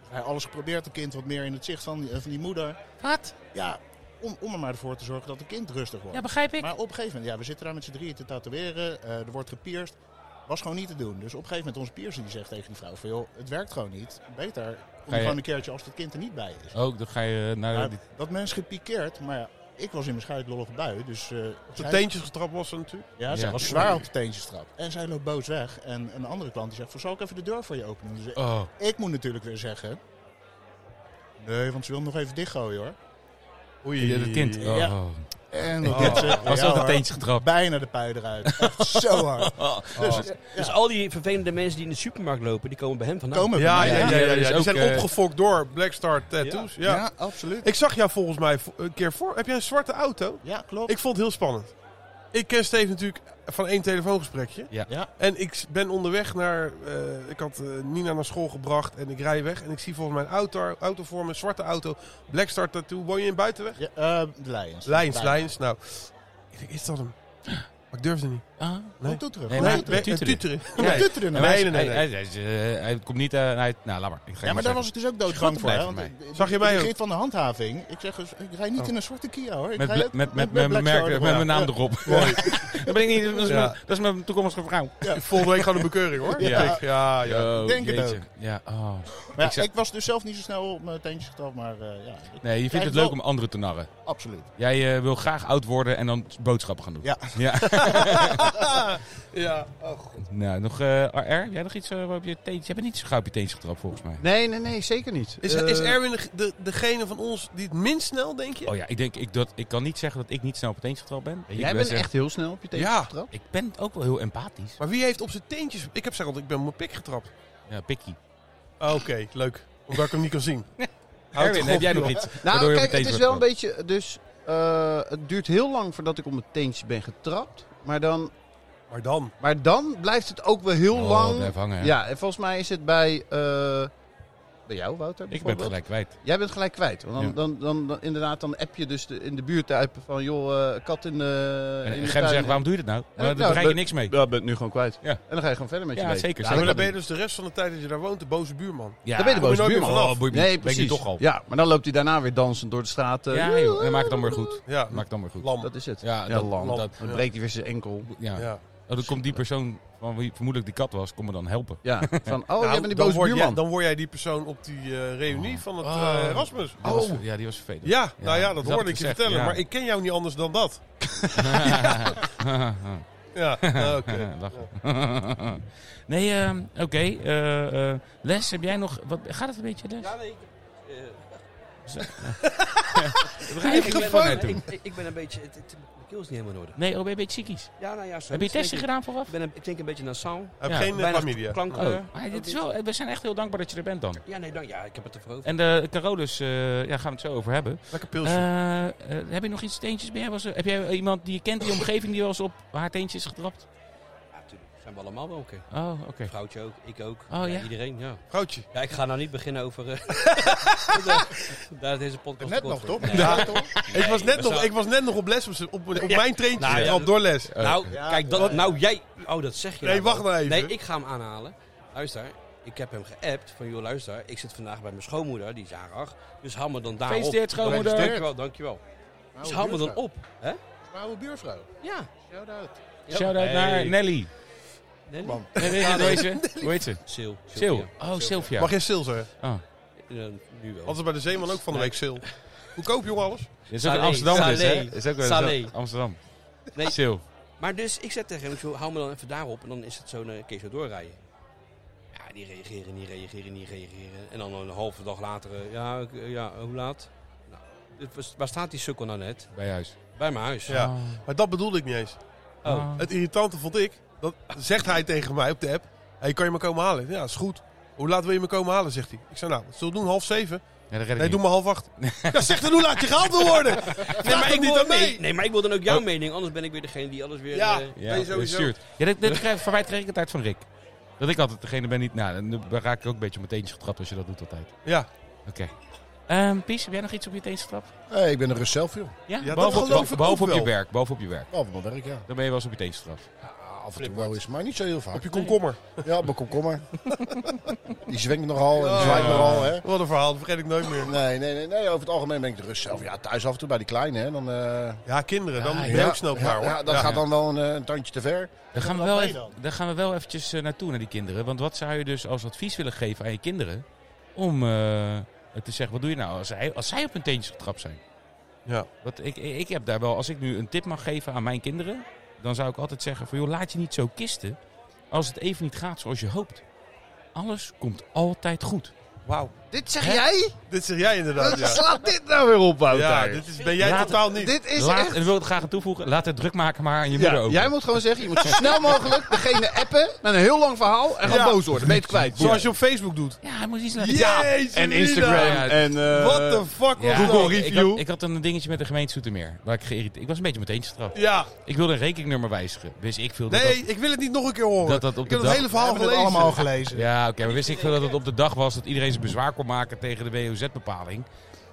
F: Hij had alles geprobeerd, het kind wat meer in het zicht van die, eh, van die moeder.
B: Wat?
F: Ja, om, om er maar voor te zorgen dat het kind rustig wordt.
B: Ja, begrijp ik.
F: Maar op een gegeven moment, ja, we zitten daar met z'n drieën te tatoeëren. eh, er wordt gepierst. Was gewoon niet te doen. Dus op een gegeven moment, onze piercer die zegt tegen die vrouw van... joh, het werkt gewoon niet. Beter kom
B: je-
F: gewoon een keertje als het kind er niet bij is.
B: Ook, Oh, dan ga je naar
F: Maar
B: die...
F: dat mens gepikeerd, maar ja, ik was in mijn schuitlollige bui. Dus eh,
A: Zijn
F: zij-
A: teentjes getrapt was ze natuurlijk.
F: ja, zij
B: Ja.
F: was zwaar op de teentjes trapt. En zij loopt boos weg. En een andere klant die zegt, van, zal ik even de deur voor je openen? Dus
B: Oh.
F: ik moet natuurlijk weer zeggen... Nee, want ze wil hem nog even dichtgooien hoor.
A: Oei.
B: Ja, dat kind. Oh.
F: Ja. En
A: Oh.
F: dat
B: Was
F: ja,
B: wel de
F: hoor,
B: teentjes getrapt.
F: Bijna de pui eruit. Echt zo hard.
B: Dus-
C: Dus al die vervelende mensen die in de supermarkt lopen, die komen bij hem vandaan.
F: Komen we
A: Ja,
F: maar.
A: ja,
B: Ja,
A: ja,
B: ja,
A: ja, dus
B: dat is
A: ja. Die
B: ook,
A: zijn
B: eh,
A: opgefokt door Blackstar Tattoos. Ja.
F: Ja, absoluut.
A: Ik zag jou volgens mij vo- een keer voor. Heb jij een zwarte auto?
F: Ja, klopt.
A: Ik vond het heel spannend. Ik ken Steve natuurlijk van één telefoongesprekje.
B: Ja.
F: Ja.
A: En ik s- ben onderweg naar... eh, ik had eh, Nina naar school gebracht en ik rij weg. En ik zie volgens mij een auto, auto voor me, een zwarte auto. Blackstar Tattoo. Woon je in Buitenweg?
F: Ja, eh, de Lions.
A: Lijns, lijns. Nou, ik denk, is dat hem? Maar ik durfde niet.
B: Ah.
A: Nee.
F: Doe terug.
B: Nee,
F: Nee,
B: maar-
F: doe terug.
B: Tuteren.
A: Eh, tuteren.
B: Ja,
F: Doe terug.
B: En
A: Nee,
B: hij-
A: nee, nee,
B: Hij, hij, hij- eh, hij komt niet... eh, hij, nou, laat maar. Ik ga
F: Ja, maar daar was ik dus ook doodbang voor.
B: blijven
F: hè, want
B: voor
F: ik-
A: Zag je
F: ik-
A: mij
F: ik
A: ook?
F: reed van de handhaving. Ik zeg, dus, ik rij niet in een zwarte Kia hoor. Ik
B: Met,
F: rij
B: bla-
F: ook
B: met, met, met,
F: Black
B: mijn merk-
F: Star
B: met
F: erop.
B: mijn naam
F: Ja.
B: erop. dat ben ik niet. Dat is,
A: Ja.
B: mijn, dat is mijn toekomstige vrouw.
A: Volgende week gewoon een bekeuring hoor.
B: Ja.
A: Ja, ja. ja.
B: Oh,
F: denk het
B: jeetje. Ja, oh.
F: Maar
B: Ik
F: ja,
B: zeg-
F: ik was dus zelf niet zo snel op mijn teentjes getrapt, maar eh, ja, ik-
B: Nee, je vindt het
F: wel-
B: leuk om anderen te narren.
F: absoluut.
B: Jij eh, wil graag oud worden en dan boodschappen gaan doen.
F: Ja.
B: ja.
A: ja. Oh, god.
B: Nou, nog eh, RR? Jij nog iets eh, op je teentjes? Je hebt niet zo gauw op je teentjes getrapt, volgens mij.
E: Nee, nee, nee, zeker niet.
A: Is,
E: Eh,
A: is Erwin de- de, degene van ons die het minst snel, denk je?
B: Oh ja, ik denk, ik, dat, ik kan niet zeggen dat ik niet snel op het teentje getrapt ben. Ik
E: Jij
B: ben
E: bent
B: zeg-
E: echt heel snel op je
A: Ja.
E: tegengetrapt.
B: Ik ben ook wel heel empathisch.
A: Maar wie heeft op zijn teentjes... Ik heb zeggen, want ik ben op mijn pik getrapt.
B: Ja, pikkie.
A: Oh, Oké, leuk. Omdat ik hem niet kan zien. Houd
B: Erwin,
A: toch
B: heb
A: op,
B: jij nog
A: joh.
B: iets? waardoor
E: Nou,
B: je
E: kijk,
B: meteen
E: het is
B: wordt
E: wel een
B: getrapt?
E: beetje. Dus eh, het duurt heel lang voordat ik op mijn teentjes ben getrapt. Maar dan,
A: Maar dan...
E: maar dan blijft het ook wel heel
B: Oh,
E: lang.
B: blijf hangen.
E: Ja.
B: hè.
E: en volgens mij is het bij. eh, bij jou, Wouter?
B: Ik ben het
E: bijvoorbeeld.
B: gelijk kwijt.
E: Jij bent gelijk kwijt. Want dan,
B: Ja.
E: dan, dan, dan- inderdaad, dan app je dus de, in de buurt uit van. joh, eh, kat in de.
B: En,
E: in
B: en
E: de
B: Gem
E: tuin.
B: zegt, waarom doe je dat nou? Maar
E: nou,
B: daar bereik je
E: dat-
B: niks mee.
E: Ja, ben het nu gewoon kwijt.
B: Ja.
E: En dan ga je gewoon verder met je
B: Ja,
E: leven.
B: zeker,
E: Ja,
A: maar dan
B: zeker.
E: dan ben
A: ben je dus de rest van de tijd dat je daar woont de boze buurman.
B: Ja,
E: dan ben je de
A: Moet je nooit
E: boze
A: meer
E: buurman.
A: vanaf.
B: Oh, boeit me niet.
E: Nee,
B: Ben ik
E: precies.
B: nu toch al.
E: Ja, maar dan loopt hij daarna weer dansend door de straten.
B: Ja, joh. En maak het dan weer goed.
A: Ja,
B: Maak het dan weer goed.
A: lam.
E: Dat is het.
B: Ja,
E: Ja,
B: dat,
E: lam.
B: dat-
E: Dan breekt hij weer zijn enkel.
B: ja.
A: Ja.
B: Oh, dan komt die persoon van wie vermoedelijk die kat was, kom me dan helpen.
E: Ja, van, oh,
A: Nou,
E: jij bent die
A: dan
E: boze
A: word jij-
E: buurman.
A: dan word jij die persoon op die eh, reunie van het
B: Oh.
A: eh, Erasmus.
B: Die was- ja, die was vervelend.
A: Ja, nou ja, dat
B: had
A: hoorde
B: ik
A: ik je
B: gezegd,
A: vertellen.
B: ja.
A: Maar ik ken jou niet anders dan dat. Ja, nou, oké.
B: Lachen. nee, ehm, oké. eh, eh, Les, heb jij nog... Wat, gaat het een beetje, Les?
C: Ja, nee, ik, eh,
B: We gaan even
C: ik,
B: wat
C: ben,
B: net
C: ik,
B: doen.
C: ik, ik ben een beetje... Het, het, mijn keel is niet helemaal nodig.
B: Nee, oh, ben je een beetje ziekies?
C: Ja, nou ja,
B: Heb
C: zo.
B: je
C: Ik denk
B: testen
C: ik-
B: gedaan vooraf?
C: Ik, ben een, ik denk een beetje nasal.
A: Hij
B: Ja.
A: heeft geen eh,
C: Weinig
A: chlamydia.
C: klank.
B: Oh,
C: eh,
B: maar dit is
C: ook
B: wel, we zijn echt heel dankbaar dat je er bent dan.
C: niet. Ja, nee, dan, ja, ik heb het ervoor over.
B: En de Carolus, eh, ja, gaan we het zo over hebben.
A: Lekker pilsje.
B: Eh, eh, heb je nog iets teentjes bij? Was er- heb jij iemand die je kent, die omgeving, die wel eens op haar teentjes is getrapt?
C: Ja, natuurlijk. Zijn we allemaal wel een keer.
B: Oh, oké.
C: Vrouwtje ook, ik ook.
B: Oh, ja?
C: Iedereen, ja.
A: Vrouwtje.
C: Ja, ik ga nou niet beginnen over... eh, dat- dat deze podcast...
F: Net
C: kort
F: nog, toch?
C: wordt. Nee.
F: Ja, toch?
A: Ik was, net
C: we
A: nog,
C: zouden-
A: ik was net nog op les, op, op, op
C: Ja.
A: mijn treintje
C: Nou ja,
A: getrapt door les.
B: Eh,
C: Nou, kijk, dat, nou jij... Oh, dat zeg je
A: Nee,
C: nou
A: wacht
C: wel.
A: nou even.
C: Nee, ik ga hem aanhalen. Luister, ik heb hem geappt van... Joh, luister, ik zit vandaag bij mijn schoonmoeder, die is jarig. Dus haal me dan daarop.
B: Gefeliciteerd, schoonmoeder.
C: Dankjewel, dankjewel.
A: Nou,
C: Dus haal me dan op. Hè?
F: Oude buurvrouw.
C: Ja.
F: Shout-out.
B: Shout-out naar Nelly.
C: Nee,
F: Man.
B: Nee, weet je, hoe heet ze? Hoe heet ze?
C: Sil.
B: Sil.
C: Sylvia.
B: Oh, Sylvia.
A: Mag geen sale zeggen?
B: Oh.
C: Eh, nu wel.
A: Altijd bij de Zeeman ook van de week sale. Goedkoop, jongen, alles.
B: Dit is ook in
C: Salé.
B: Amsterdam dus, hè?
C: Salé.
B: Dit Is ook wel
C: Salé.
B: zo- Amsterdam.
C: Nee.
B: Sil.
C: Maar dus, ik zet tegen hem, ik zo, hou me dan even daarop. En dan is het zo'n eh, keer zo doorrijden. Ja, die reageren, die reageren, die reageren. En dan een halve dag later, eh, ja, ik- eh, ja hoe laat? Nou, dit was- waar staat die sukkel nou net?
B: Bij huis.
C: Bij mijn huis.
A: Ja. Ah. Maar dat bedoelde ik niet eens.
B: Oh.
C: Oh.
A: Het irritante vond ik, dat zegt hij tegen mij op de app. Hey, kan je me komen halen? Ja, is goed. Hoe laat wil je me komen halen, zegt hij. Ik zei, nou, wat zullen we doen? Half zeven?
B: Ja, dat red ik
A: Nee,
B: niet.
A: doe maar half acht. Ja, zeg dan hoe laat je gehaald wil worden. Nee, maar ik niet
C: wil,
A: aan mij. Oh.
C: nee, nee, maar ik wil dan ook jouw mening, anders ben ik weer degene die alles weer...
A: Ja.
C: eh,
B: Ja,
A: Nee, sowieso.
B: stuurt. Ja, dit, dit krijg, van mij kreeg ik het uit van Rick. Dat ik altijd degene ben die... Nou, dan- dan raak ik ook een beetje op mijn teentjes getrapt als je dat doet altijd.
A: Ja,
B: Oké. Ehm Pies, heb jij nog iets op je teentjes getrapt?
F: Nee, Eh, ik ben er rust zelf, joh.
B: Ja,
A: dat
B: boven,
A: geloof
B: boven-
A: ik
B: boven
A: ook
B: op je
A: wel.
B: werk. Boven op je werk.
F: Wel van mijn werk, ja.
B: Dan ben je wel eens op je teentjes getrapt.
F: Af en toe wel eens, maar niet zo heel
A: op
F: vaak.
A: je komkommer.
F: Ja, op mijn komkommer. Die zwingt nogal en die zwaait nogal, hè.
A: Wat een verhaal, dat vergeet ik nooit meer.
F: Nee, nee, nee, nee, over het algemeen ben ik de rust zelf. Ja, thuis af en toe bij die kleine, hè. Dan, eh,
A: Ja, kinderen, dan ben je
F: ja,
A: ook snel
F: ja,
A: klaar, hoor.
F: Ja, dat gaat dan wel een, eh, een tandje te ver.
B: Daar gaan, we wel even, daar gaan we wel eventjes eh, naartoe, naar die kinderen. Want wat zou je dus als advies willen geven aan je kinderen... om eh, te zeggen, wat doe je nou als, hij, als zij op hun teentjes getrapt zijn?
A: Ja.
B: Want ik, ik heb daar wel, als ik nu een tip mag geven aan mijn kinderen... dan zou ik altijd zeggen, van, joh, laat je niet zo kisten... als het even niet gaat zoals je hoopt. Alles komt altijd goed.
A: Wauw.
E: Dit zeg jij?
A: Dit zeg jij inderdaad, ja.
E: Slaat dit nou weer op, Wouter?
A: Ja, dit is, ben jij
B: Laat-
A: totaal niet.
E: Dit is
B: Laat,
E: echt...
B: en wil ik graag aan toevoegen, laat het druk maken maar aan je moeder
E: Ja,
B: ook.
E: jij moet gewoon zeggen, je moet zo snel mogelijk degene appen met een heel lang verhaal en gewoon
A: Ja.
E: boos worden. Ben je het kwijt.
A: Zoals je op Facebook doet.
B: Ja, hij moet iets laten
A: Jezus,
E: En
A: Mina.
E: Instagram
B: Ja.
E: en... eh,
A: What the fuck
B: Ja,
A: was dat?
E: Google.
B: ik- Ik,
E: review.
B: had, ik had een dingetje met de gemeente Zoetermeer. Waar ik geïrriteerd... Ik was een beetje meteen gestraft.
A: Ja,
B: Ik wilde een rekeningnummer wijzigen. Wist ik veel dat
A: nee,
B: dat-
A: ik wil het niet nog een keer horen.
B: Dat dat op
A: ik
B: de
A: heb het
B: dag-
A: hele verhaal
F: Hebben we
A: gelezen.
F: het allemaal gelezen.
B: Ja, oké. maar wist ik veel dat het op de dag was dat iedereen zijn bezwaar kon maken tegen de WOZ-bepaling.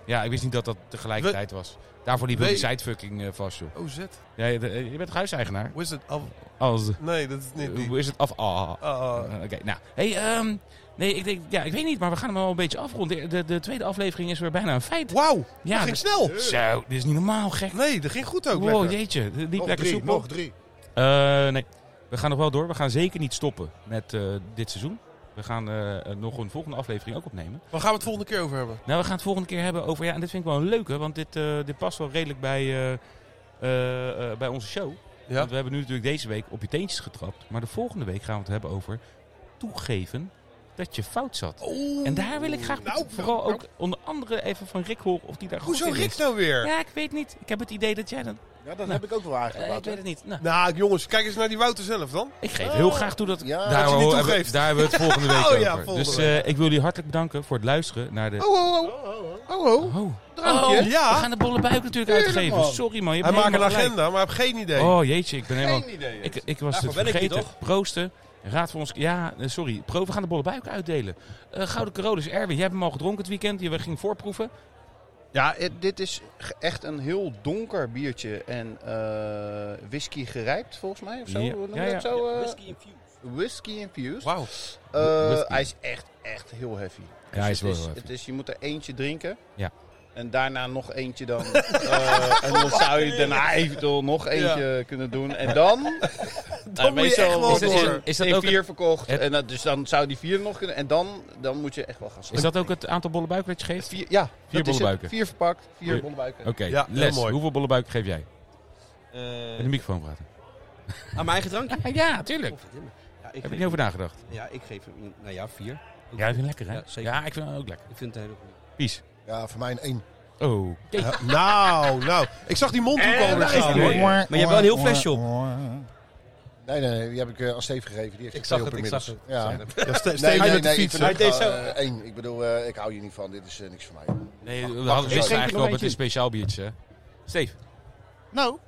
B: Ja, ik wist niet dat dat tegelijkertijd was. Daarvoor liep ook
A: Nee.
B: die sidefucking eh, vast, joh.
A: Oh, zet.
B: Ja, je, eh, je bent huiseigenaar.
A: Hoe is het? Af-
B: Als,
A: Nee, dat is niet die.
B: hoe is het af? Ah.
A: Ah,
B: Eh, Oké, nou. Hey, ehm, nee, ik, denk, ja, ik weet niet, maar we gaan hem wel een beetje afronden. De, de, de tweede aflevering is weer bijna een feit.
A: Wauw,
B: Ja, dus-
A: dat ging snel.
B: Zo, dit is niet normaal, gek.
A: Nee, dat ging goed ook.
B: Wow,
A: lekker.
B: jeetje. Niet
F: Nog
B: lekker
F: drie,
B: soepel.
F: nog drie.
B: Eh, nee, we gaan nog wel door. We gaan zeker niet stoppen met eh, dit seizoen. We gaan eh, nog een volgende aflevering ook opnemen.
A: Waar gaan we het volgende keer over hebben?
B: Nou, we gaan het volgende keer hebben over... Ja, en dit vind ik wel een leuke, want dit, eh, dit past wel redelijk bij, eh, eh, eh, bij onze show.
A: Ja.
B: Want we hebben nu natuurlijk deze week op je teentjes getrapt. Maar de volgende week gaan we het hebben over toegeven dat je fout zat.
A: Oeh.
B: En daar wil ik graag
A: Nou,
B: vooral
A: nou,
B: ook onder andere even van Rick horen of die daar
A: Hoezo
B: goed in
A: Rick
B: is.
A: nou weer?
B: Ja, ik weet niet. Ik heb het idee dat jij dat...
D: Ja, dat
B: Nou,
D: heb ik ook wel
B: eh, ik
D: aangepakt.
B: weet het niet. Nou,
A: Nou, jongens, kijk eens naar die Wouter zelf dan.
B: ik geef heel graag toe dat...
D: Ja, dat
B: daar,
A: Oh. je niet
B: hebben,
A: toegeeft.
B: we- daar hebben we het volgende week
A: Oh
B: over.
A: ja, volgende
B: dus
A: week.
B: eh, ik wil jullie hartelijk bedanken voor het luisteren naar de...
E: Oh, oh, oh. Oh, oh.
B: Oh,
E: Drankje.
B: Oh,
A: Ja.
B: we gaan de bolle buik natuurlijk
E: Tuurlijk,
B: uitgeven.
E: man.
B: Sorry man, je
A: Hij
B: hebt
A: maakt een
B: helemaal gelijk.
A: agenda, maar heb geen idee.
B: Oh jeetje, ik ben helemaal...
E: Geen idee.
B: Ik, ik was
C: Daarvoor
B: het
C: ben ik hier
B: vergeten. Proosten. Raad voor ons... Ja, eh, sorry. Pro, we gaan de bolle buik uitdelen. Eh, Gouden Carolus, Erwin, jij hebt hem al gedronken het weekend. Je ging voorproeven.
E: Ja, eh, dit is ge- echt een heel donker biertje. En eh, whisky gerijpt, volgens mij. Of zo.
B: Ja.
E: Hoe noem je
B: Ja,
E: dat
B: ja.
A: Oh,
E: zo? eh?
C: Whisky infused.
E: whisky infused.
B: Wauw.
E: Eh,
B: Whisky.
E: hij is echt, echt heel heavy.
B: Ja, hij is wel
E: het
B: heel
E: is,
B: heavy.
E: het is, Je moet er eentje drinken.
B: Ja.
E: En daarna nog eentje dan. eh, en dan zou je daarna eventueel nog eentje kunnen doen. En dan... nou,
A: moet je
E: meestal
A: echt wel
E: is,
A: door.
E: in-
B: Is dat
E: in
B: ook
E: vier verkocht.
B: het-
E: En, dat- dus dan zou die vier nog kunnen. En dan, dan moet je echt wel gaan
B: Is
E: slapen.
B: dat ook het aantal bolle buiken dat je geeft?
E: Vier, ja,
B: Vier
E: dat is het.
B: bollebuiken.
E: Vier verpakt, vier
B: Vier.
E: bollebuiken.
B: Oké,
A: Ja, heel
B: Les,
A: mooi.
B: hoeveel bolle buiken geef jij? Met de
C: Eh,
B: microfoon praten.
C: aan mijn eigen drankje?
B: Ja, tuurlijk.
C: Godverdomme. Ja,
B: Heb
C: ik
B: ik
C: geef
B: niet over nagedacht.
C: hem- Ja, ik geef hem, nou ja, vier. Ook
B: Ja, ik
C: goed.
B: vind het lekker hè?
C: Ja, zeker.
B: Ja, ik vind het ook lekker.
C: Ik vind het heel goed.
B: Peace.
D: Ja, voor mij een één.
B: Oh.
A: Ja, nou, nou. Ik zag die mondhoek al weer gaan.
C: Nee.
A: hoor.
C: Maar je hebt wel een heel flesje op.
F: Nou,
D: Nee, nee, nee, die heb ik eh, aan Steve gegeven. Die heeft er twee op inmiddels. Ja.
C: Ik zag het.
A: Ja, Ste-
D: Nee,
A: Steven
D: nee,
A: met de
D: nee, ik
A: fiets.
D: vind
C: Hij deed
D: ook,
C: zo.
D: eh, één. Ik bedoel, eh, ik hou hier niet van. Dit is eh, niks voor mij.
B: Nee, we
D: wacht,
B: hadden
D: ik
B: wisten
D: denk
B: eigenlijk al met een speciaal biertje. hè? Steve.
F: Nou,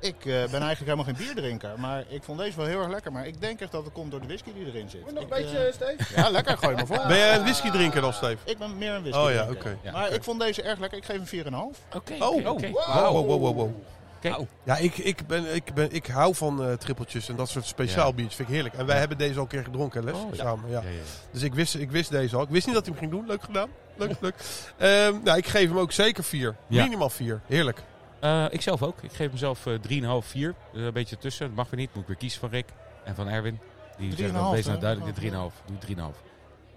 F: ik eh, ben eigenlijk helemaal geen bierdrinker. Maar ik vond deze wel heel erg lekker. Maar ik denk echt dat het komt door de whisky die erin zit.
D: Nog een
F: Ik,
D: beetje, Steve?
F: eh, ja, lekker. Gooi maar voor.
A: Ben jij een whisky drinker dan, Steve?
F: Ik ben meer een whisky.
A: Oh ja, oké.
F: drinker. Maar ik vond deze erg lekker. Ik geef hem 4,5.
B: Oké,
A: Oh,
B: oké, oké.
A: Wow, wow, wow, wow, wow.
B: Oké.
C: Au.
A: Ja, ik, ik, ben, ik, ben, ik hou van eh, trippeltjes en dat soort speciaal
B: Ja.
A: biertjes. Vind ik heerlijk. En wij hebben deze al een keer gedronken, Les,
B: Oh, ja.
A: samen. Ja.
B: Ja, ja, ja.
A: Dus ik wist, ik wist deze al. Ik wist niet dat hij hem ging doen. Leuk gedaan. Leuk, leuk. Ehm, nou, ik geef hem ook zeker vier.
B: Ja.
A: Minimaal vier. Heerlijk.
B: Eh, ik zelf ook. Ik geef mezelf eh, 3,5, 4. Dus een beetje tussen. Dat mag weer niet. Moet ik weer kiezen van Rick en van Erwin. Die zeggen dat
F: 3,5,
B: wees nou
F: hè?
B: duidelijk. de 3,5. Doe 3,5.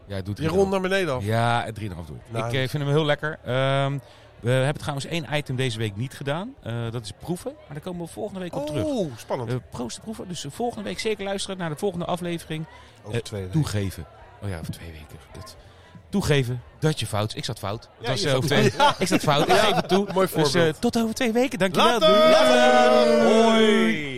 B: Ja, doe 3,5.
A: Die rond naar beneden af.
B: Ja, 3,5 doe ik.
A: Nou,
B: ik eh,
A: dat-
B: vind hem heel lekker. Ehm, we hebben trouwens één item deze week niet gedaan. Eh, dat is proeven. Maar daar komen we volgende week op terug.
A: Oh, spannend.
B: Eh, proost te proeven. Dus eh, volgende week zeker luisteren naar de volgende aflevering. eh,
A: Over twee
B: Toegeven. Oh ja, over twee weken. Kut. Toegeven dat je fout. Ik zat fout. Het
F: Ja,
B: was
F: je
B: eh, over
F: zat
B: twee. Ik zat fout. Ik geef het toe.
A: Mooi
B: Dus eh,
A: voorbeeld.
B: tot over twee weken. Dankjewel.
A: Later!
B: Doei. Hoi.